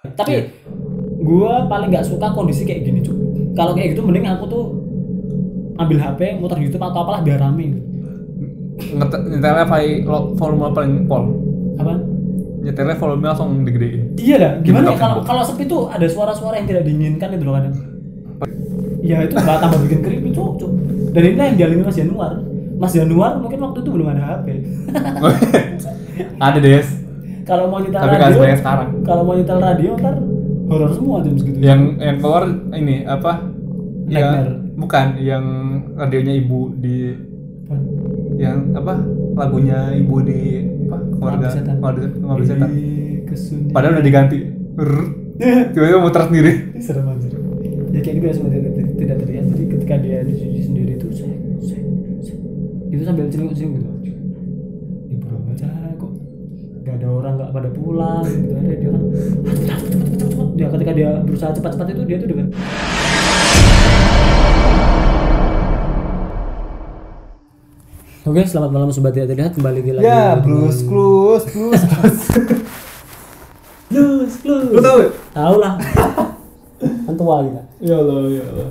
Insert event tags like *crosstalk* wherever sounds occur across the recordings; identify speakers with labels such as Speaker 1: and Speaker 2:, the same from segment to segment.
Speaker 1: Tapi gua paling nggak suka kondisi kayak gini, Cuk. Kalau kayak gitu mending aku tuh ambil HP, muter YouTube atau apalah biar rame. gitu.
Speaker 2: Nget- nyetelnya paling lo- volume paling pol
Speaker 1: Apaan?
Speaker 2: nyetelnya volume langsung digedein
Speaker 1: Iya lah, gimana ya
Speaker 2: Bentrok.
Speaker 1: kalau kalau sepi tuh ada suara-suara yang tidak diinginkan itu loh kadang. Ya itu malah tambah bikin creepy cuk cuk. Dan inilah yang dialami Mas Januar. Mas Januar mungkin waktu itu belum ada HP.
Speaker 2: *laughs* ada des
Speaker 1: kalau mau nyetel
Speaker 2: Tapi
Speaker 1: radio,
Speaker 2: kan sebenarnya sekarang.
Speaker 1: kalau mau nyetel radio ntar horor semua gitu. jam segitu.
Speaker 2: yang yang keluar ini apa
Speaker 1: Nightmare.
Speaker 2: yang bukan yang radionya ibu di
Speaker 1: Nah,
Speaker 2: yang apa lagunya ibu di apa keluarga
Speaker 1: Mengabdi setan.
Speaker 2: keluarga keluarga setan
Speaker 1: Di kesunyian.
Speaker 2: padahal udah diganti Rrrr. tiba-tiba muter sendiri
Speaker 1: serem anjir. Ya kayak gitu ya semua tidak, tidak- tidak terlihat. Jadi ketika dia dicuci sendiri itu saya saya itu sambil cenguk-cenguk gitu. Ibu rumah aja kok nggak ada orang nggak pada pulang gitu ada dia kan "Ah, cepet, cepet, cepet, cepet, cepet." dia ketika dia berusaha cepat-cepat itu dia tuh dengan Oke, selamat malam sobat tidak terlihat kembali lagi
Speaker 2: ya Bruce Clues Bruce Clues
Speaker 1: Lus,
Speaker 2: *laughs* lu tau gak?
Speaker 1: Tahu lah. kan tua kita.
Speaker 2: ya Allah ya Allah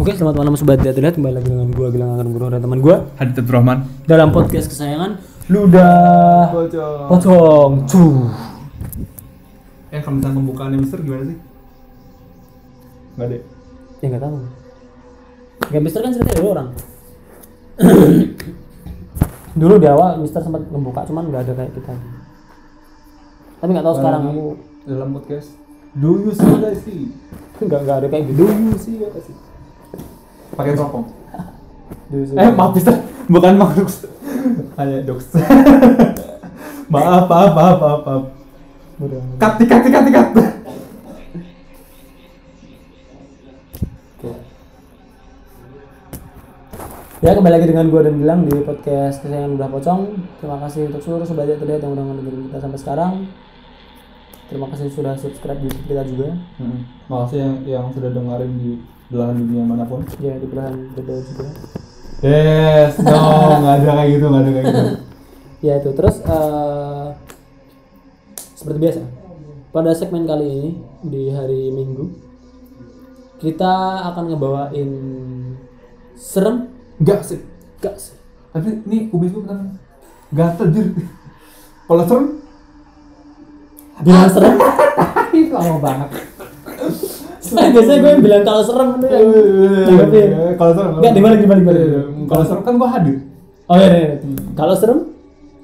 Speaker 1: Oke, selamat malam sobat tidak terlihat kembali lagi dengan gua Gilang Akan Guru dan teman gua
Speaker 2: Hadithat Rahman
Speaker 1: dalam podcast kesayangan Ludah
Speaker 2: bocor
Speaker 1: Pocong. Cuh.
Speaker 2: eh kalau misalnya pembukaannya Mister gimana sih? gak deh
Speaker 1: Ya enggak tahu. Ya Mister kan ceritanya dulu orang. *coughs* dulu di awal Mister sempat membuka cuman nggak ada kayak kita. Tapi nggak
Speaker 2: Oh,
Speaker 1: tahu sekarang aku
Speaker 2: dalam podcast do you see guys see
Speaker 1: nggak nggak ada kayak gitu.
Speaker 2: do you see guys see pakai teropong
Speaker 1: Dulu
Speaker 2: eh maaf Mister bukan makhluk hanya dogs Ah, ya, *laughs* maaf maaf maaf maaf maaf
Speaker 1: Bodoh amat.
Speaker 2: cut cut cut cut
Speaker 1: Ya kembali lagi dengan gue dan Gilang di podcast kesayangan Belah Pocong Terima kasih untuk seluruh sobat yang terlihat yang udah ngedengerin kita sampai sekarang Terima kasih sudah subscribe di YouTube kita juga
Speaker 2: hmm. makasih yang yang sudah dengerin di belahan dunia manapun
Speaker 1: Ya di belahan beda juga
Speaker 2: yes no nggak ada kayak gitu nggak ada kayak gitu
Speaker 1: Ya itu terus eh, Seperti biasa Pada segmen kali ini di hari Minggu Kita akan ngebawain Serem
Speaker 2: nggak sih
Speaker 1: gak sih?
Speaker 2: tapi ini kubis gue kan nggak *laughs* terjir kalau *laughs* serem
Speaker 1: Bilang serem
Speaker 2: ih, lama banget
Speaker 1: Biasanya gue yang bilang kalau serem itu yang
Speaker 2: Iya,
Speaker 1: Tapi
Speaker 2: kalau serem
Speaker 1: Nggak, dibalik, dibalik, dibalik.
Speaker 2: kalau serem kan gua hadir
Speaker 1: Oh iya, iya, iya. Kalau serem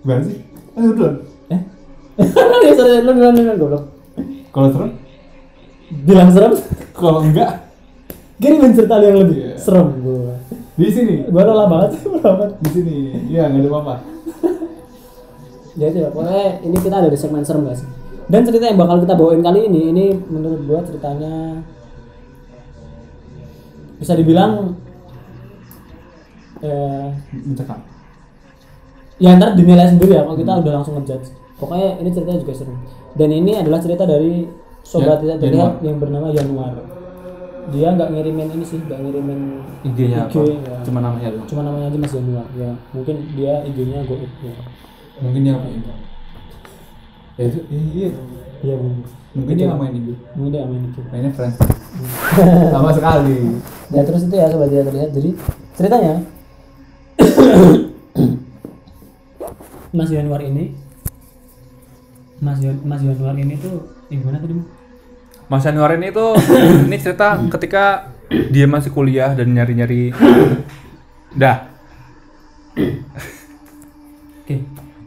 Speaker 2: gimana sih eh udah
Speaker 1: Eh? ya sorry, lu duluan duluan goblok.
Speaker 2: kalau serem
Speaker 1: Bilang serem,
Speaker 2: kalau enggak
Speaker 1: gini main cerita lu yang lebih
Speaker 2: Iya.
Speaker 1: serem gua.
Speaker 2: di sini
Speaker 1: Gua lelah banget *laughs* sih berapa.
Speaker 2: di sini ya nggak ada apa-apa
Speaker 1: Ya itu ya, pokoknya ini kita ada di segmen serem guys. Dan cerita yang bakal kita bawain kali ini, ini menurut gua ceritanya bisa dibilang eh,
Speaker 2: mencekam
Speaker 1: ya ntar dinilai sendiri ya kalau kita
Speaker 2: Hmm.
Speaker 1: udah langsung ngejudge pokoknya ini ceritanya juga serem dan ini adalah cerita dari sobat tidak
Speaker 2: Ya-
Speaker 1: terlihat yang bernama Januar dia nggak ngirimin ini sih nggak ngirimin
Speaker 2: IG-nya
Speaker 1: IG, ya.
Speaker 2: cuma namanya doang
Speaker 1: cuma namanya aja Mas Januar ya mungkin dia IG-nya gue ya
Speaker 2: mungkin dia ngapain ya itu iya, iya.
Speaker 1: iya mungkin
Speaker 2: mungkin dia nggak main ibu
Speaker 1: mungkin dia nggak main IG
Speaker 2: mainnya friends sama sekali
Speaker 1: ya terus itu ya sobat tidak terlihat jadi ceritanya *coughs* Mas Januar ini Mas, Yan- Mas Januar ini tuh eh, gimana tadi Bu?
Speaker 3: Mas Anwar ini tuh ini cerita ketika dia masih kuliah dan nyari-nyari dah.
Speaker 1: oke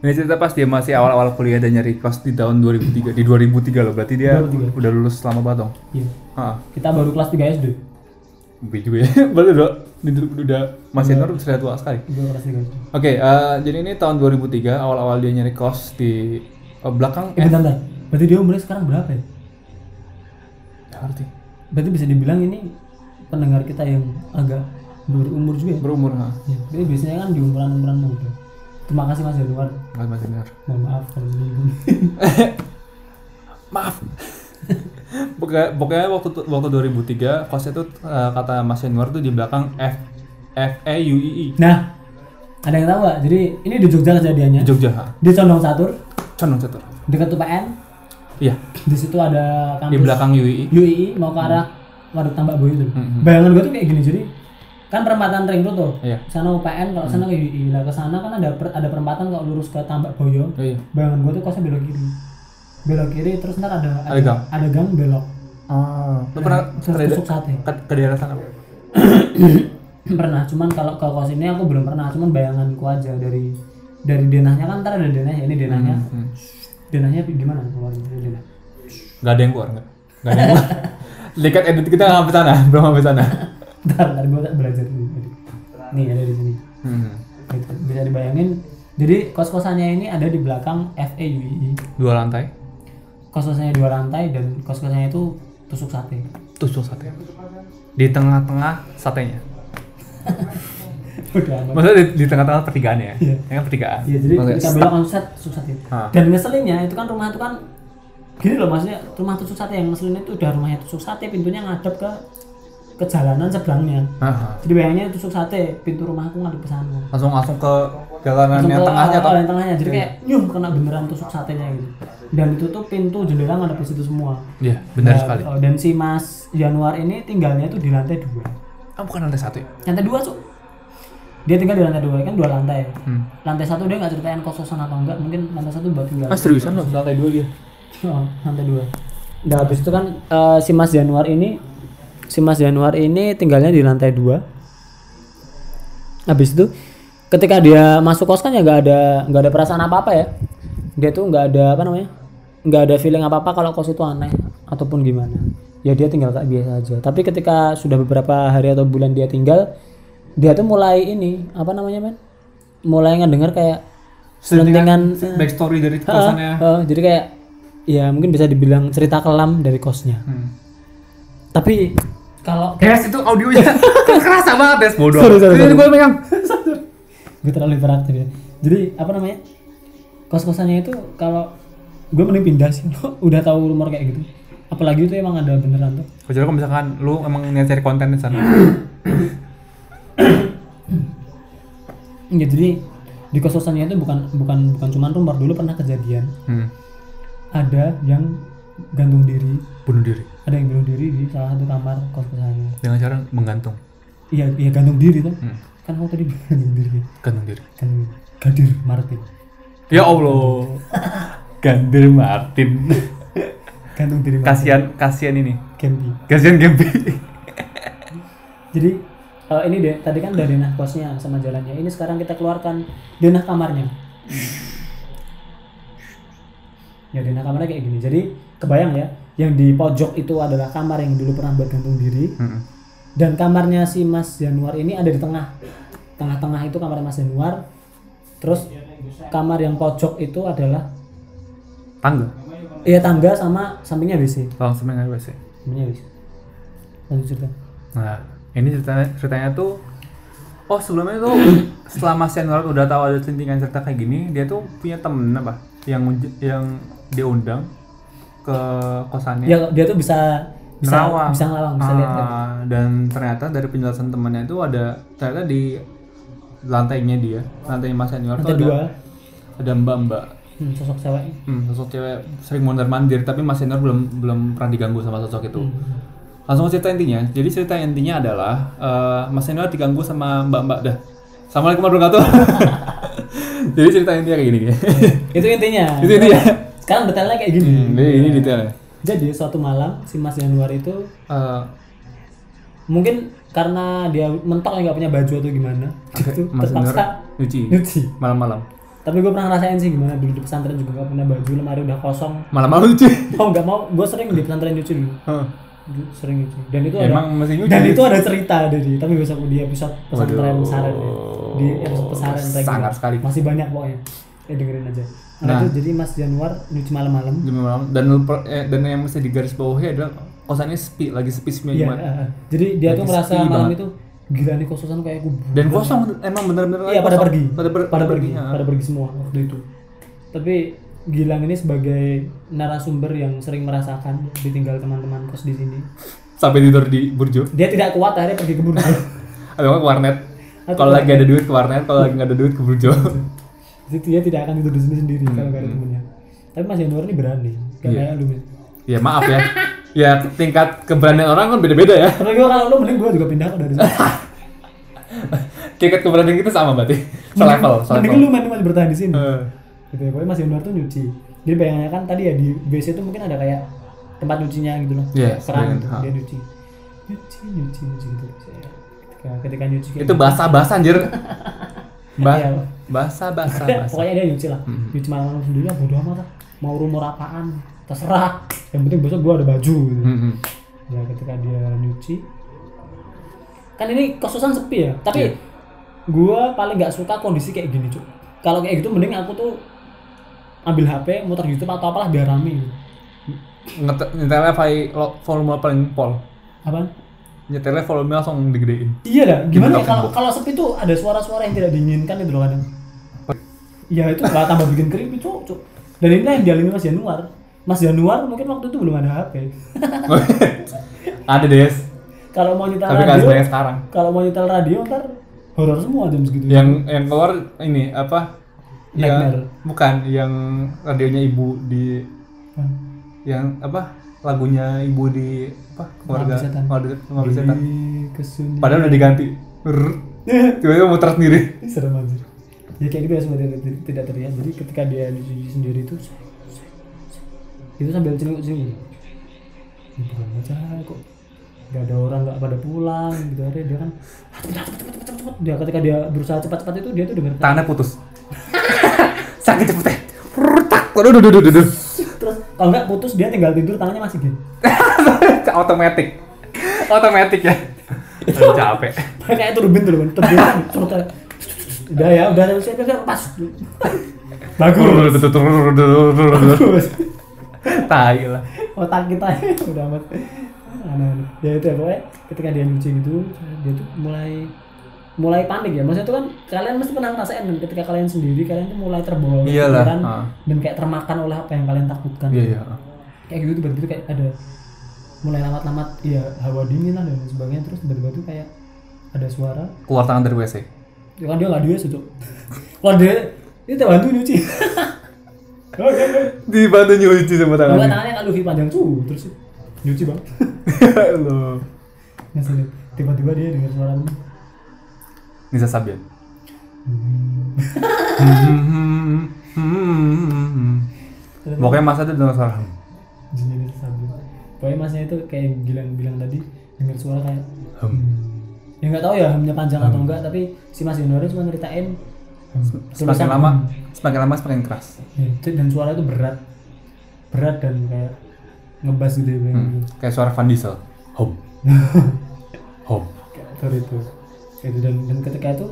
Speaker 3: Ini cerita pas dia masih awal-awal kuliah dan nyari kelas di tahun 2003 di 2003 loh berarti dia
Speaker 1: 2003.
Speaker 3: udah lulus lama banget dong.
Speaker 1: Iya.
Speaker 3: Heeh.
Speaker 1: Kita baru kelas 3 SD.
Speaker 3: Lebih juga ya. *laughs* Baru udah udah Mas Anwar sudah tua sekali.
Speaker 1: Baru kelas 3 SD.
Speaker 3: Oke, eh, jadi ini tahun 2003 awal-awal dia nyari kos di eh, belakang
Speaker 1: Eh bentar, bentar. Berarti dia umurnya sekarang berapa ya?
Speaker 3: Ya, ngerti.
Speaker 1: Berarti bisa dibilang ini pendengar kita yang agak berumur juga ya.
Speaker 3: Berumur, ha.
Speaker 1: Ya, Jadi biasanya kan di umuran-umuran muda. Terima kasih Mas Januar.
Speaker 3: Mas Anwar.
Speaker 1: Mohon maaf kalau menyinggung.
Speaker 3: maaf pokoknya, pokoknya waktu tu- waktu 2003 kosnya itu
Speaker 2: eh,
Speaker 3: kata Mas Januar tuh di belakang F F E U I I
Speaker 1: *laughs* nah, ada yang tahu nggak? Jadi ini di Jogja kejadiannya.
Speaker 2: Ah,
Speaker 3: di Jogja ha
Speaker 1: Di Condong Catur,
Speaker 3: condong catur
Speaker 1: dekat UPN.
Speaker 2: Iya,
Speaker 1: di situ ada kampus
Speaker 2: di belakang UII.
Speaker 1: UII mau ke arah Waduk Tambak Boyo itu
Speaker 2: Hmm, hmm.
Speaker 1: bayangan gue tuh kayak gini jadi kan perempatan ring road tuh
Speaker 2: Iya. Hmm.
Speaker 1: sana UPN kalau sana ke UII lah ke sana kan ada per- ada perempatan kalau lurus ke Tambak Boyo
Speaker 2: Oh, iya.
Speaker 1: bayangan gue tuh kosnya belok kiri belok kiri terus ntar ada
Speaker 2: Ada gang.
Speaker 1: ada gang belok
Speaker 2: Oh, lu pernah
Speaker 1: Ah, eh, terus
Speaker 2: ke,
Speaker 1: tusuk sate
Speaker 2: ke, ke daerah sana?
Speaker 1: pernah cuman kalau ke kos ini aku belum pernah cuman bayanganku aja dari dari denahnya kan ntar ada denahnya ini denahnya
Speaker 2: Hmm.
Speaker 1: denahnya gimana keluarin dari denah
Speaker 2: Gak ada yang keluar nggak? Gak ada yang
Speaker 1: *laughs*
Speaker 2: keluar. Lihat edit kita nggak sampai sana, belum sampai sana.
Speaker 1: ntar ntar gue belajar dulu nih ada di sini
Speaker 2: Hmm.
Speaker 1: Gitu. bisa dibayangin jadi kos-kosannya ini ada di belakang FAUI
Speaker 2: Dua lantai,
Speaker 1: kos-kosannya dua lantai dan kos-kosannya itu tusuk sate *laughs*
Speaker 2: tusuk sate. Di tengah-tengah satenya.
Speaker 1: udah amat
Speaker 2: Maksudnya di, di tengah-tengah pertigaannya.
Speaker 1: Iya.
Speaker 2: Ya kan pertigaan.
Speaker 1: Iya, jadi
Speaker 2: Maksudnya
Speaker 1: kita belok langsung set tusuk sate
Speaker 2: Ah.
Speaker 1: ya. dan ngeselinnya itu kan rumah itu kan gini loh maksudnya rumah tusuk sate yang ngeselin itu udah rumahnya tusuk sate pintunya ngadep ke ke jalanan sebelahnya
Speaker 2: Aha.
Speaker 1: jadi bayangnya tusuk sate pintu rumahku ngadep ke sana
Speaker 2: langsung langsung ke jalanan
Speaker 1: Langsung
Speaker 2: yang
Speaker 1: ke
Speaker 2: tengahnya
Speaker 1: awal-awal
Speaker 2: Iya. atau
Speaker 1: yang tengahnya jadi kayak nyuh kena beneran tusuk satenya gitu dan itu tuh pintu jendela ngadep ke situ semua
Speaker 2: Iya, benar
Speaker 1: Nah,
Speaker 2: sekali.
Speaker 1: oh, dan si Mas Januar ini tinggalnya tuh di lantai dua.
Speaker 2: Ah, bukan lantai satu ya?
Speaker 1: Lantai dua cuk. Dia tinggal di lantai dua kan dua lantai.
Speaker 2: Hmm.
Speaker 1: Lantai satu dia nggak ceritain kososan apa enggak, mungkin lantai satu buat
Speaker 2: Hmm.
Speaker 1: tinggal.
Speaker 2: seriusan loh, lantai dua dia.
Speaker 1: Oh, lantai dua. Nah habis itu kan eh, si Mas Januar ini, si Mas Januar ini tinggalnya di lantai dua. Habis itu ketika dia masuk kos kan ya nggak ada nggak ada perasaan apa apa ya. Dia tuh nggak ada apa namanya, nggak ada feeling apa apa kalau kos itu aneh ataupun gimana. Ya dia tinggal kayak biasa aja. Tapi ketika sudah beberapa hari atau bulan dia tinggal, dia tuh mulai ini apa namanya men? Mulai ngedenger kayak selentingan eh,
Speaker 2: Backstory
Speaker 1: Ah.
Speaker 2: dari
Speaker 1: Heeh,
Speaker 2: kosannya.
Speaker 1: heeh, jadi kayak ya mungkin bisa dibilang cerita kelam dari kosnya.
Speaker 2: Hmm.
Speaker 1: Tapi kalau
Speaker 2: Des, itu
Speaker 1: *laughs*
Speaker 2: audionya kerasa banget Des. Bodoh.
Speaker 1: Sorry, sorry,
Speaker 2: Ini
Speaker 1: sorry.
Speaker 2: gue pegang.
Speaker 1: gue terlalu hiperaktif ya. Jadi apa namanya? Kos-kosannya itu kalau gue mending pindah sih. *laughs* Udah tahu rumor kayak gitu. Apalagi itu emang ada beneran tuh.
Speaker 2: Kecuali Oh, kalau misalkan lu emang niat cari konten di sana.
Speaker 1: Ya, jadi di kos-kosannya itu bukan bukan bukan cuman rumor dulu pernah kejadian
Speaker 2: Hmm.
Speaker 1: ada yang gantung diri,
Speaker 2: Bunuh diri
Speaker 1: ada yang bunuh diri di salah satu kamar kos-kosannya.
Speaker 2: dengan cara menggantung.
Speaker 1: Iya, iya gantung diri tuh.
Speaker 2: Hmm.
Speaker 1: Kan kamu tadi bilang gantung diri.
Speaker 2: Gantung diri.
Speaker 1: Kan gadir Martin.
Speaker 2: Ya
Speaker 1: *laughs*
Speaker 2: Allah. Gandir Martin.
Speaker 1: gantung diri Martin
Speaker 2: kasihan kasihan ini.
Speaker 1: Gempi.
Speaker 2: Kasihan Gempi.
Speaker 1: jadi eh, ini deh tadi kan dari denah kosnya sama jalannya ini sekarang kita keluarkan denah kamarnya ya denah kamarnya kayak gini jadi kebayang ya yang di pojok itu adalah kamar yang dulu pernah buat gantung diri
Speaker 2: Hmm.
Speaker 1: dan kamarnya si Mas Januar ini ada di tengah tengah-tengah itu kamar Mas Januar terus kamar yang pojok itu adalah
Speaker 2: Tangga.
Speaker 1: ya tangga sama sampingnya WC
Speaker 2: Langsung main WC.
Speaker 1: sampingnya WC lanjut cerita
Speaker 2: Nah, ini ceritanya, ceritanya tuh Oh sebelumnya
Speaker 1: *coughs*
Speaker 2: tuh selama Mas Yanuar udah tahu ada celintingan cerita kayak gini, dia tuh punya temen apa yang yang diundang ke kosannya.
Speaker 1: dia dia tuh bisa bisa
Speaker 2: Nerawang.
Speaker 1: bisa ngelawang bisa lihat kan?
Speaker 2: Hmm. Ah, dan ternyata dari penjelasan temannya itu ada ternyata di lantainya dia, lantainya Mas Yanuar
Speaker 1: lantai
Speaker 2: tuh ada,
Speaker 1: dua
Speaker 2: ada mbak-mbak
Speaker 1: hmm, sosok
Speaker 2: *laughs*
Speaker 1: cewek
Speaker 2: hmm, sosok cewek sering mondar mandir tapi Mas Yanuar belum belum pernah diganggu sama sosok itu.
Speaker 1: Hmm.
Speaker 2: Langsung ke cerita intinya. Jadi cerita intinya adalah eh, Mas Yanuar diganggu sama mbak-mbak dah. Assalamualaikum warahmatullahi wabarakatuh. *laughs* Jadi cerita intinya kayak gini.
Speaker 1: itu intinya
Speaker 2: *laughs* Itu intinya.
Speaker 1: sekarang detailnya kayak gini
Speaker 2: Hmm, Jadi ini detailnya.
Speaker 1: jadi suatu malam si Mas Januar itu
Speaker 2: Eh,
Speaker 1: mungkin karena dia mentok yang nggak punya baju atau gimana itu
Speaker 2: Mas Yanuar
Speaker 1: terpaksa *laughs*
Speaker 2: nyuci
Speaker 1: nyuci
Speaker 2: malam-malam.
Speaker 1: tapi gue pernah ngerasain sih gimana dulu di pesantren juga nggak punya baju lemari udah kosong
Speaker 2: Malam-malam nyuci.
Speaker 1: mau nggak mau gue sering di pesantren nyuci dulu
Speaker 2: *laughs* Hah.
Speaker 1: sering nyuci dan itu ada
Speaker 2: Ya, Emang masih nyuci.
Speaker 1: dan itu ada cerita dari tapi besok di episode pesantren
Speaker 2: Waduh.
Speaker 1: saran ya. di episode pesantren reguler.
Speaker 2: Sangar sekali.
Speaker 1: masih banyak pokoknya ya dengerin aja nah,
Speaker 2: Nah.
Speaker 1: itu jadi Mas Januar nyuci malam-malam
Speaker 2: Jam malam dan per- eh, dan yang mesti digaris bawahi adalah kosannya sepi lagi sepi sepi
Speaker 1: Iya,
Speaker 2: gimana
Speaker 1: eh, eh. jadi dia
Speaker 2: Lagi
Speaker 1: tuh merasa
Speaker 2: sepi
Speaker 1: malam
Speaker 2: banget.
Speaker 1: itu gila nih kososan kayak kuburan
Speaker 2: dan kosong emang bener-bener
Speaker 1: iya pada
Speaker 2: lagi kosong.
Speaker 1: pergi
Speaker 2: pada, per-
Speaker 1: pada pergi
Speaker 2: ya.
Speaker 1: pada pergi semua waktu itu tapi Gilang ini sebagai narasumber yang sering merasakan ditinggal teman-teman kos di sini
Speaker 2: sampai tidur di burjo
Speaker 1: dia tidak kuat akhirnya pergi ke
Speaker 2: *laughs*
Speaker 1: Bogor.
Speaker 2: atau nggak ke warnet
Speaker 1: Atau
Speaker 2: kalau
Speaker 1: ke
Speaker 2: lagi ada duit ke warnet kalau lagi nggak ada duit ke burjo *laughs*
Speaker 1: ya, Jadi dia tidak akan tidur di sini sendiri kalau nggak ada temennya. Tapi Mas Januar ini berani. Gak
Speaker 2: Iya.
Speaker 1: kayak lu.
Speaker 2: ya maaf ya ya tingkat keberanian orang kan beda-beda ya
Speaker 1: Karena gue kalau lu mending gue juga pindah kok dari
Speaker 2: *laughs* Oh,
Speaker 1: sini.
Speaker 2: tingkat keberanian kita sama berarti selevel
Speaker 1: Iya. Mending
Speaker 2: selevel
Speaker 1: lu main masih bertahan di sini.
Speaker 2: Eh,
Speaker 1: gitu ya pokoknya masih luar tuh nyuci jadi bayangannya kan tadi ya di WC itu mungkin ada kayak tempat nyucinya gitu loh
Speaker 2: Iya,
Speaker 1: Kayak keran
Speaker 2: iya,
Speaker 1: gitu
Speaker 2: ha.
Speaker 1: dia nyuci nyuci nyuci nyuci gitu ketika, ketika nyuci kayak
Speaker 2: itu
Speaker 1: gitu.
Speaker 2: basah-basah anjir
Speaker 1: Iya.
Speaker 2: ba
Speaker 1: *laughs* Pokoknya-
Speaker 2: basah-basah basah
Speaker 1: gitu. pokoknya dia nyuci lah nyuci malam sendiri lah bodo amat lah mau rumor apaan terserah yang penting besok gua ada baju gitu
Speaker 2: Mm-mm.
Speaker 1: ya ketika dia nyuci kan ini kosusan sepi ya tapi
Speaker 2: Iya.
Speaker 1: gua paling nggak suka kondisi kayak gini cuy kalau kayak gitu mending aku tuh ambil HP muter YouTube atau apalah biar rame
Speaker 2: Nget- nyetelnya vai- lo- volume paling pol
Speaker 1: apa
Speaker 2: nyetelnya volume langsung digedein
Speaker 1: *laughs*
Speaker 2: *laughs*
Speaker 1: iya lah gimana ya
Speaker 2: Gimana
Speaker 1: kalau
Speaker 2: tembok?
Speaker 1: kalau sepi tuh ada suara-suara yang tidak diinginkan itu loh kadang ya itu nggak tambah bikin creepy cuy cuy dan ini yang dialami Mas Januar Mas Januar mungkin waktu itu belum ada HP
Speaker 2: ada des
Speaker 1: *laughs* kalau mau nyetel
Speaker 2: tapi kan
Speaker 1: radio
Speaker 2: sebanyak sekarang
Speaker 1: kalau mau nyetel radio ntar horor semua jam segitu
Speaker 2: yang yang keluar ini apa
Speaker 1: Nightmare.
Speaker 2: yang bukan yang radionya ibu di
Speaker 1: Hah.
Speaker 2: yang apa lagunya ibu di apa keluarga
Speaker 1: Pengabdi setan.
Speaker 2: keluarga pengabdi setan
Speaker 1: Di kesunyian.
Speaker 2: padahal udah diganti Rrrr. tiba-tiba muter sendiri
Speaker 1: Ini serem anjir. Ya kayak gitu ya sebenarnya tidak- tidak terlihat. Jadi ketika dia dicuci sendiri itu seng, seng, seng. itu sambil cenguk-cenguk. Ini bukan aja kok nggak ada orang nggak pada pulang gitu akhirnya dia kan "Ah, cepet cepet cepet cepet cepet dia ketika dia berusaha cepat cepat itu dia tuh dengar
Speaker 2: tangannya putus *laughs* sakit cepet deh rutak waduh *laughs* duh duh duh, duh duh
Speaker 1: terus kalau nggak putus dia tinggal tidur tangannya masih gini
Speaker 2: otomatis otomatis ya Aduh, capek
Speaker 1: kayak turbin tuh kan turbin Terus kayak, udah ya udah siap siap siap pas bagus bagus
Speaker 2: tai lah
Speaker 1: otak kita *laughs* udah amat aneh ya itu ya pokoknya ketika dia nyuci gitu dia tuh mulai mulai panik ya maksudnya tuh kan kalian mesti pernah ngerasain kan ketika kalian sendiri kalian tuh mulai terbawa oleh
Speaker 2: Iyalah,
Speaker 1: pikiran
Speaker 2: ah.
Speaker 1: dan kayak termakan oleh apa yang kalian takutkan
Speaker 2: iya iya
Speaker 1: kayak gitu tiba-tiba kayak ada mulai lamat-lamat ya hawa dingin lah dan lain sebagainya terus tiba-tiba tuh kayak ada suara
Speaker 2: keluar tangan dari wc
Speaker 1: ya kan dia nggak dia *laughs* cocok kalau dia dia tak bantu nyuci *laughs* oke oke
Speaker 2: dibantu nyuci
Speaker 1: Dua
Speaker 2: sama tangannya
Speaker 1: tangannya kan Luffy panjang tuh terus nyuci bang
Speaker 2: *laughs* lo
Speaker 1: ngeselin Iya tiba-tiba dia dengar suara ini.
Speaker 2: Nisa Sabian
Speaker 1: Hmm.
Speaker 2: pokoknya Mas ada dengar suara hmm.
Speaker 1: jinnya itu sambil pokoknya masnya itu kayak yang Gilang bilang tadi dengar suara kayak
Speaker 2: Hmm.
Speaker 1: ya nggak tahu ya hamnya panjang atau enggak tapi si Mas Januari cuma ceritain
Speaker 2: Hmm. semakin lama semakin lama semakin keras
Speaker 1: Ya, itu- dan suara itu berat berat dan kayak ngebas gitu ya kayak gitu.
Speaker 2: kayak suara Van Diesel *laughs* home home
Speaker 1: Kayak sorry itu Kayak itu dan dan ketika itu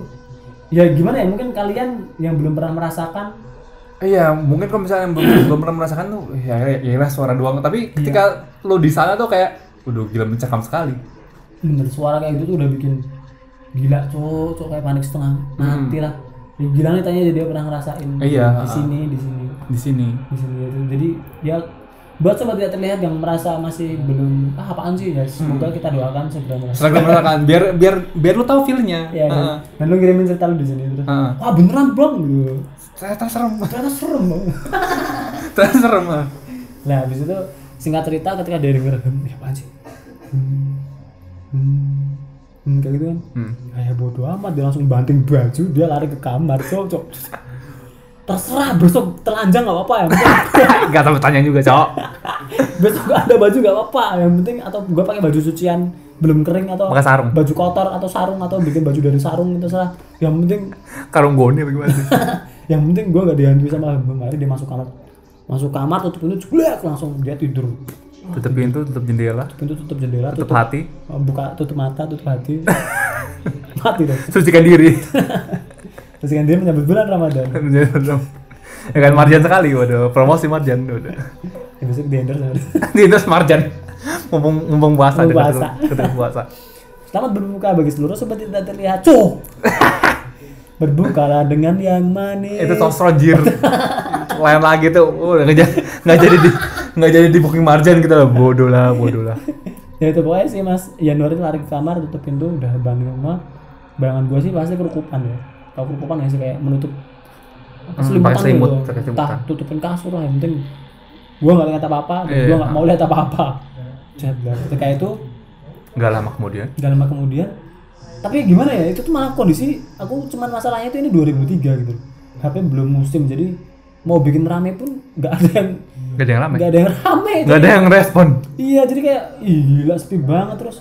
Speaker 1: ya gimana ya mungkin kalian yang belum pernah merasakan
Speaker 2: Iya, mungkin kalau misalnya belum, belum pernah merasakan tuh, ya ya, ya lah suara doang. Tapi ketika lo di sana tuh kayak, udah gila mencekam sekali.
Speaker 1: bener suara kayak gitu tuh udah bikin gila cowok cowok kayak panik setengah mati lah ya, gila nih tanya jadi dia pernah ngerasain
Speaker 2: Hmm. Iya,
Speaker 1: di
Speaker 2: ah.
Speaker 1: sini di sini
Speaker 2: Di sini,
Speaker 1: di sini gitu. jadi ya buat sobat tidak terlihat yang merasa masih belum ah apaan sih ya
Speaker 2: Hmm.
Speaker 1: semoga kita doakan segera merasa
Speaker 2: sering merasakan. Biar biar biar lo tahu feelnya.
Speaker 1: ya
Speaker 2: Heeh.
Speaker 1: dan, dan lu ngirimin cerita lu di sini terus
Speaker 2: Heeh.
Speaker 1: wah beneran bang gitu
Speaker 2: Ternyata serem, *laughs*
Speaker 1: ternyata serem bang *laughs*
Speaker 2: ternyata serem. ah.
Speaker 1: nah habis itu singkat cerita ketika dia denger "Hmm, ya apaan sih Hmm. Hmm. Hmm, kayak gitu kan
Speaker 2: Hmm.
Speaker 1: kayak bodo amat dia langsung banting baju dia lari ke kamar cok cok terserah besok telanjang gak apa-apa yang
Speaker 2: *laughs*
Speaker 1: penting
Speaker 2: Gak tau tanya juga, *laughs* cowok.
Speaker 1: besok gak ada baju gak apa-apa yang penting atau gua pakai baju sucian belum kering atau
Speaker 2: Pakai sarung.
Speaker 1: baju kotor atau sarung atau bikin baju dari sarung itu salah yang penting *laughs*
Speaker 2: Karung goni bagaimana sih?
Speaker 1: yang penting gua gak dihantui sama hantu Akhirnya dia masuk kamar masuk kamar tutup pintu jeblek langsung dia tidur
Speaker 2: tutup pintu, tutup jendela,
Speaker 1: pintu tutup jendela
Speaker 2: tutup
Speaker 1: tutup
Speaker 2: hati, *laughs*
Speaker 1: Oh, buka tutup mata tutup hati mati dong
Speaker 2: sucikan diri. *laughs*
Speaker 1: terus kan dia menyambut bulan ramadan
Speaker 2: ya kan Marjan sekali, waduh. Promosi Marjan, waduh. *laughs*
Speaker 1: ya besok di endorse sama dia.
Speaker 2: Di endorse Marjan. Mumpung, mumpung puasa.
Speaker 1: Mumpung
Speaker 2: dekat-
Speaker 1: puasa.
Speaker 2: dekat
Speaker 1: *laughs*
Speaker 2: puasa.
Speaker 1: Selamat berbuka bagi seluruh sobat tidak terlihat. Cuh. Berbukalah dengan yang manis.
Speaker 2: itu tosrojir lain lagi tuh uh, nggak jadi nggak jadi di nggak jadi di booking margin kita lah bodoh lah bodoh lah
Speaker 1: Ya itu pokoknya sih Mas Januari lari ke kamar tutup pintu udah bangun rumah. Bayangan gua sih pasti kerukupan ya. Tahu kerukupan nggak sih kayak menutup apa,
Speaker 2: Hmm,
Speaker 1: selimutan
Speaker 2: pakai selimut,
Speaker 1: gitu.
Speaker 2: pakai
Speaker 1: Entah
Speaker 2: selimutan.
Speaker 1: tutupin kasur lah yang penting gue nggak lihat apa apa dan
Speaker 2: Iya.
Speaker 1: gue nggak mau lihat apa apa saya bilang ketika itu
Speaker 2: nggak lama kemudian
Speaker 1: gak lama kemudian tapi gimana ya itu tuh malah kondisi aku cuman masalahnya itu ini 2003 gitu HP belum musim jadi mau bikin rame pun nggak ada yang
Speaker 2: nggak ada yang lama ya?
Speaker 1: nggak ada yang rame
Speaker 2: nggak ada yang respon
Speaker 1: Iya, jadi kayak ih gila sepi banget terus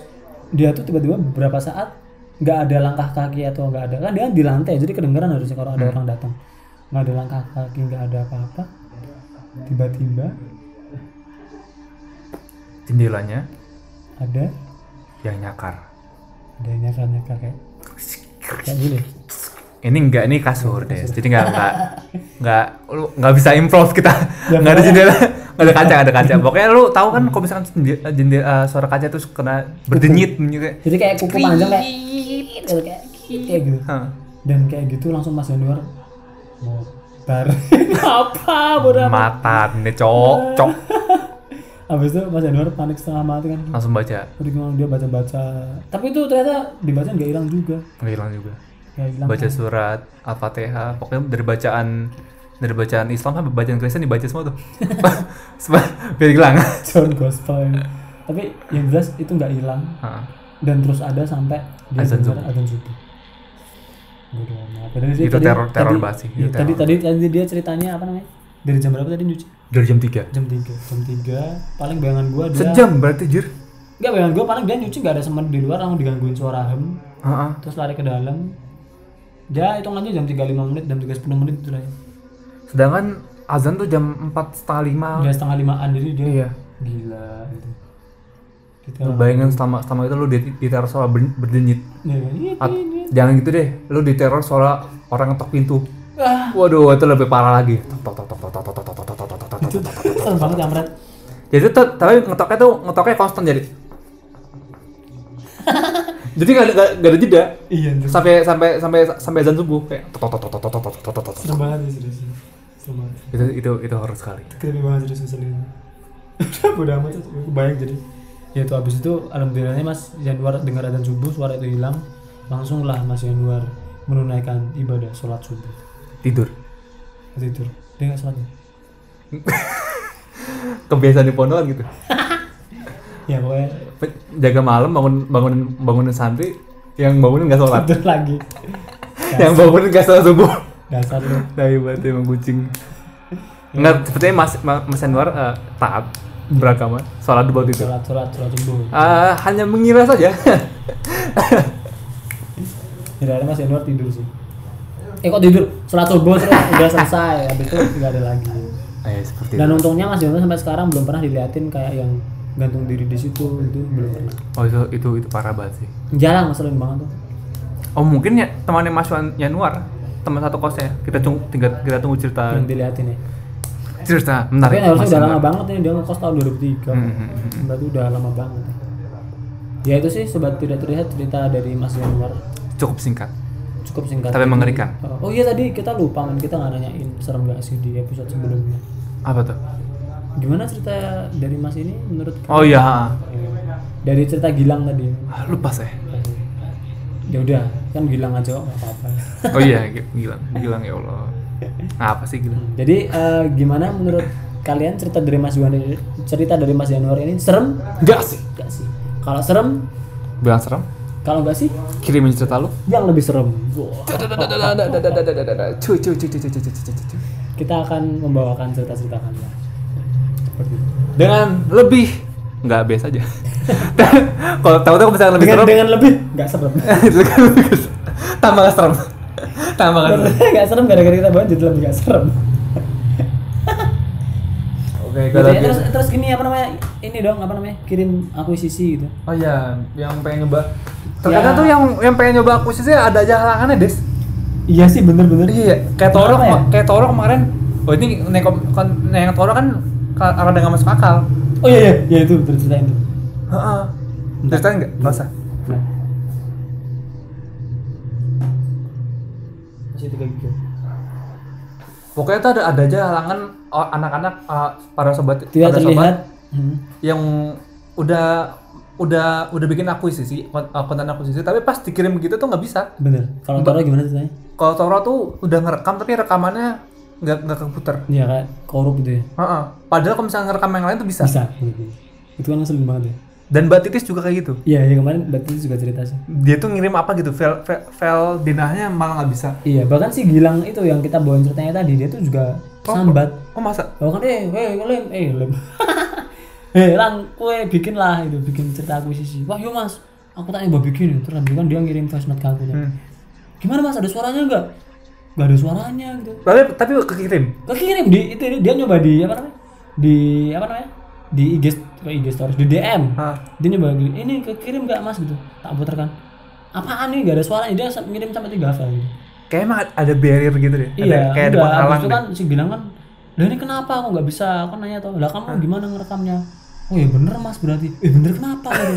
Speaker 1: dia tuh tiba-tiba beberapa saat nggak ada langkah kaki atau nggak ada kan dia di lantai jadi kedengeran harusnya kalau ada orang datang nggak ada langkah kaki nggak ada apa-apa tiba-tiba
Speaker 2: jendelanya
Speaker 1: ada
Speaker 2: yang nyakar
Speaker 1: ada yang nyakar nyakar kayak kayak gini
Speaker 2: ini enggak ini kasur deh jadi enggak *laughs* enggak enggak lu enggak bisa improv kita enggak ada jendela enggak ada kaca enggak ada kaca pokoknya lu tahu kan kalau misalkan jendela, jendela- eh, suara kaca terus kena berdenyit gitu kayak,
Speaker 1: jadi kayak kuku panjang kayak gitu, kayak kayak gitu
Speaker 2: "Hah,
Speaker 1: dan kayak gitu langsung Mas Januar mau tar *laughs* apa bodoh amat.
Speaker 2: mata nih cok cok
Speaker 1: abis itu Mas Januar panik setengah mati kan
Speaker 2: langsung baca
Speaker 1: Terus gimana dia baca-baca. Tapi itu ternyata dibaca nggak hilang juga.
Speaker 2: nggak hilang juga
Speaker 1: Nggak hilang. *laughs*
Speaker 2: baca surat al-fatihah pokoknya dari bacaan dari bacaan Islam sampai bacaan Kristen dibaca semua tuh *laughs* Sebab- biar hilang
Speaker 1: John Gospel. ya. Tapi yang jelas itu nggak hilang
Speaker 2: Heeh.
Speaker 1: dan terus ada sampai dia
Speaker 2: Azan
Speaker 1: dengar
Speaker 2: subuh.
Speaker 1: azan subuh. Bodoh amat. Padahal dia
Speaker 2: Itu teror- teror banget sih,
Speaker 1: iya,
Speaker 2: itu
Speaker 1: tadi, tadi tadi dia ceritanya apa namanya? Dari jam berapa tadi nyuci?
Speaker 2: dari jam 3
Speaker 1: Jam 3. Jam 3 paling bayangan gua dia
Speaker 2: sejam berarti jir
Speaker 1: Enggak bayangan gua paling dia nyuci nggak ada semen di luar langsung digangguin suara hem
Speaker 2: Heeh.
Speaker 1: terus lari ke dalam. Ya hitungannya jam 35 menit, jam 3.10 menit itu lah ya.
Speaker 2: sedangkan azan tuh jam empat setengah lima
Speaker 1: Dia setengah limaan jadi dia
Speaker 2: Oh. iya
Speaker 1: gila gitu kita
Speaker 2: Lu bayangin selama selama itu lu di- diteror soal ber- berdenyit.
Speaker 1: ya, kan? Iya,
Speaker 2: Hmm. At-
Speaker 1: iya, iya.
Speaker 2: jangan gitu deh, lu diteror soal orang ngetok pintu.
Speaker 1: ah
Speaker 2: Waduh, itu lebih parah lagi. Tok, tok, tok, tok, tok, tok, tok, tok, tok, tok, tok, tok,
Speaker 1: itu
Speaker 2: tok.
Speaker 1: serem banget jamret
Speaker 2: Jadi tuh, tapi ngetoknya tuh ngetoknya konstan jadi. jadi nggak ada nggak- nggak ada jeda
Speaker 1: iya itu
Speaker 2: sampai sampai sampai sampai azan subuh kayak tok, tok, tok, tok, tok, tok, tok, tok, tok, tok.
Speaker 1: serem banget ya serius serem banget
Speaker 2: itu itu itu horor sekali
Speaker 1: creepy banget serius ngeselin udah *laughs* bodo amat aku bayang jadi ya itu abis itu alhamdulillahnya mas Januar dengar adzan subuh suara itu hilang langsunglah mas Januar menunaikan ibadah sholat subuh
Speaker 2: tidur
Speaker 1: tidur dia nggak sholat ya?
Speaker 2: kebiasaan di pondokan gitu
Speaker 1: ya pokoknya
Speaker 2: Pe- jaga malam bangun bangunin bangunin santri yang bangunin nggak sholat
Speaker 1: tidur lagi
Speaker 2: yang bangunin gak salah subuh
Speaker 1: dasar lu
Speaker 2: tai banget emang kucing nggak sepertinya mas Ma- mas Anwar eh, taat beragama sholat di bawah tidur
Speaker 1: sholat sholat sholat subuh
Speaker 2: Ah, hanya mengira saja
Speaker 1: Tidak ada mas Januar tidur sih. Eh kok tidur? Sholat subuh terus udah selesai, habis itu nggak ada lagi.
Speaker 2: *laughs* eh seperti
Speaker 1: Dan untungnya mas Januar sampai sekarang belum pernah diliatin kayak yang gantung diri di situ itu belum pernah.
Speaker 2: oh itu itu itu parah banget sih
Speaker 1: Jarang ngeselin banget tuh.
Speaker 2: oh mungkin ya temannya mas Wan- Anwar teman satu kosnya kita tunggu kita, kita tunggu cerita
Speaker 1: Belum diliatin ya. Tapi kan
Speaker 2: cerita menarik
Speaker 1: harusnya udah lama
Speaker 2: Anwar.
Speaker 1: banget nih dia ngekos tahun 2003.
Speaker 2: Hmm, hmm, hmm.
Speaker 1: Berarti udah lama banget. Ya itu sih sobat tidak terlihat cerita dari Mas Januar
Speaker 2: cukup singkat
Speaker 1: cukup singkat.
Speaker 2: tapi mengerikan
Speaker 1: Oh iya tadi kita lupa kan kita nggak nanyain serem gak sih di episode sebelumnya.
Speaker 2: apa tuh
Speaker 1: Gimana cerita dari Mas ini menurut
Speaker 2: oh iya ha.
Speaker 1: dari cerita Gilang tadi
Speaker 2: Ah, lupa saya
Speaker 1: ya udah kan Gilang aja kok nggak apa-apa
Speaker 2: oh iya Gi- Gilang Gilang ya Allah apa sih Gilang
Speaker 1: jadi eh, gimana menurut kalian cerita dari Mas Januar cerita dari Mas Januar ini serem
Speaker 2: Gak sih
Speaker 1: gak sih kalau serem
Speaker 2: bilang serem
Speaker 1: kalau nggak sih
Speaker 2: kirimin cerita lu
Speaker 1: yang lebih serem Wah.
Speaker 2: cuy cuy cuy cuy cuy cuy cuy, cuy, cuy.
Speaker 1: kita akan membawakan cerita-cerita kalian seperti itu.
Speaker 2: dengan lebih nggak biasa aja *laughs* kalau tahu tahu misalkan lebih
Speaker 1: dengan
Speaker 2: *laughs* serem kan
Speaker 1: dengan lebih nggak serem
Speaker 2: tambah nggak serem tambah nggak serem
Speaker 1: *laughs* nggak serem gara-gara kita banget jadi lebih nggak serem
Speaker 2: oke
Speaker 1: Gitu ya. terus terus ini apa namanya ini dong apa namanya kirim akuisisi gitu
Speaker 2: oh iya yang pengen nyoba
Speaker 1: Terkadang tuh
Speaker 2: yang yang pengen nyoba aku sih ada aja halangannya des
Speaker 1: iya sih bener-bener
Speaker 2: iya
Speaker 1: Kenapa
Speaker 2: kayak toro
Speaker 1: ya?
Speaker 2: kema- kayak toro kemarin oh ini neng kan neng toro kan ka- rada nggak masuk akal
Speaker 1: oh iya iya iya itu betul ceritain Nah. tuh
Speaker 2: Heeh. ceritain nggak nggak usah
Speaker 1: Masih tiga gitu.
Speaker 2: pokoknya tuh ada ada aja halangan oh, anak-anak ah, para sobat
Speaker 1: Tidak
Speaker 2: para sobat
Speaker 1: terlihat. Hmm.
Speaker 2: yang udah udah udah bikin akuisisi kon- uh, konten akuisisi tapi pas dikirim begitu tuh nggak bisa
Speaker 1: Bener. Kalau Toro gimana ceritanya?
Speaker 2: kalau Toro tuh udah ngerekam tapi rekamannya nggak nggak keputer.
Speaker 1: Iya kan, korup gitu ya.
Speaker 2: Heeh. Padahal kalau misalnya ngerekam yang lain tuh bisa.
Speaker 1: Bisa. Itu kan ngeselin banget ya.
Speaker 2: Dan Mbak Titis juga kayak gitu.
Speaker 1: Iya, ya kemarin Mbak Titis juga cerita sih.
Speaker 2: Dia tuh ngirim apa gitu, file file, file dinahnya malah nggak bisa.
Speaker 1: Iya, bahkan si Gilang itu yang kita bawain ceritanya tadi, dia tuh juga sambat.
Speaker 2: Oh masa?
Speaker 1: Oh kan, eh, eh, lem, eh, lem. *laughs* eh, lang, kue bikin lah, itu bikin cerita akuisisi. Wah, yuk mas, aku tanya mau bikin. Terus habis itu kan dia ngirim voice note ke aku. kan.
Speaker 2: Hmm.
Speaker 1: Gimana mas, ada suaranya nggak? Nggak ada suaranya gitu.
Speaker 2: Tapi tapi kekirim.
Speaker 1: Kekirim di itu dia nyoba di apa namanya? Di apa namanya? Di IG ke IG stories di DM.
Speaker 2: Hah.
Speaker 1: Dia nyoba gini, ini kekirim nggak mas gitu? Tak puter kan. Apaan nih? Gak ada suaranya. Dia sam- ngirim sampai tiga file. Gitu.
Speaker 2: Kayak emang ada barrier gitu deh. Ada,
Speaker 1: Iya,
Speaker 2: kayak ada
Speaker 1: udah,
Speaker 2: penghalang
Speaker 1: abis itu
Speaker 2: deh.
Speaker 1: kan si Gilang kan, lah ini kenapa aku nggak bisa? Aku nanya tuh, lah kamu gimana ngerekamnya? Oh ya bener mas berarti, eh bener kenapa? Gitu.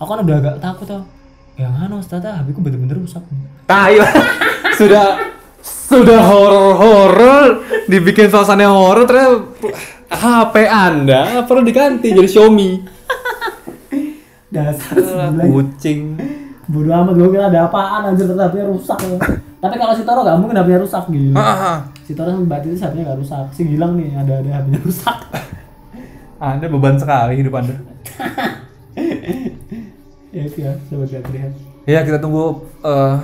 Speaker 1: aku kan udah agak takut tuh. Ya anu, ternyata HP ku bener-bener rusak.
Speaker 2: Nah, iya. sudah sudah horor-horor dibikin suasana horor ternyata HP Anda perlu diganti jadi Xiaomi.
Speaker 1: Dasar sebelah.
Speaker 2: Kucing.
Speaker 1: Bodo amat gue kira ada apaan anjir ternyata HP-nya rusak. Ya. Tapi kalau si Toro nggak mungkin HP-nya rusak gitu. Si Toro sama Mbak Titi HP-nya nggak rusak. Si Gilang nih ada ada HP-nya rusak.
Speaker 2: Anda beban sekali hidup Anda.
Speaker 1: ya itu ya, sobat gak terlihat.
Speaker 2: Ya, kita tunggu eh,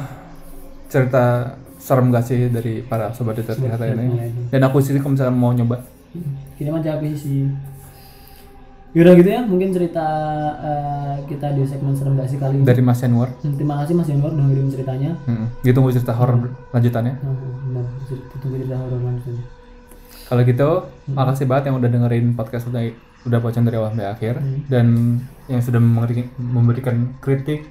Speaker 2: cerita serem gak sih dari para sobat detektif
Speaker 1: Sobat
Speaker 2: kata
Speaker 1: detektif
Speaker 2: ini.
Speaker 1: lainnya.
Speaker 2: Dan aku sih kalau misalkan mau nyoba.
Speaker 1: Kita mah capek sih. Yaudah gitu ya, mungkin cerita eh, kita di segmen serem gak sih kali ini.
Speaker 2: dari Mas Anwar.
Speaker 1: Hmm, Terima kasih Mas Yanuar udah ngirim ceritanya.
Speaker 2: Hmm. Ditunggu cerita horor lanjutannya.
Speaker 1: Nah, benar, cer- tunggu cerita horor lanjutnya.
Speaker 2: Kalau gitu, makasih banget yang udah dengerin podcast udah udah bocan dari awal sampai akhir dan yang sudah memberikan, memberikan kritik,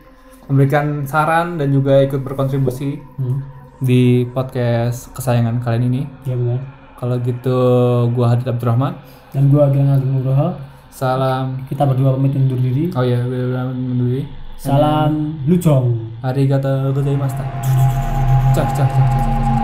Speaker 2: memberikan saran dan juga ikut berkontribusi
Speaker 1: Hmm,
Speaker 2: di podcast kesayangan kalian ini.
Speaker 1: ya benar.
Speaker 2: Kalau gitu, gua Hadid Abdurrahman.
Speaker 1: Dan gua Agang Agung Nugroho,
Speaker 2: Salam.
Speaker 1: kita berdua pamit undur diri.
Speaker 2: Oh ya, bila
Speaker 1: Salam Lujong.
Speaker 2: Arigatou gozaimashita. Cak cak cak cak cak. cak.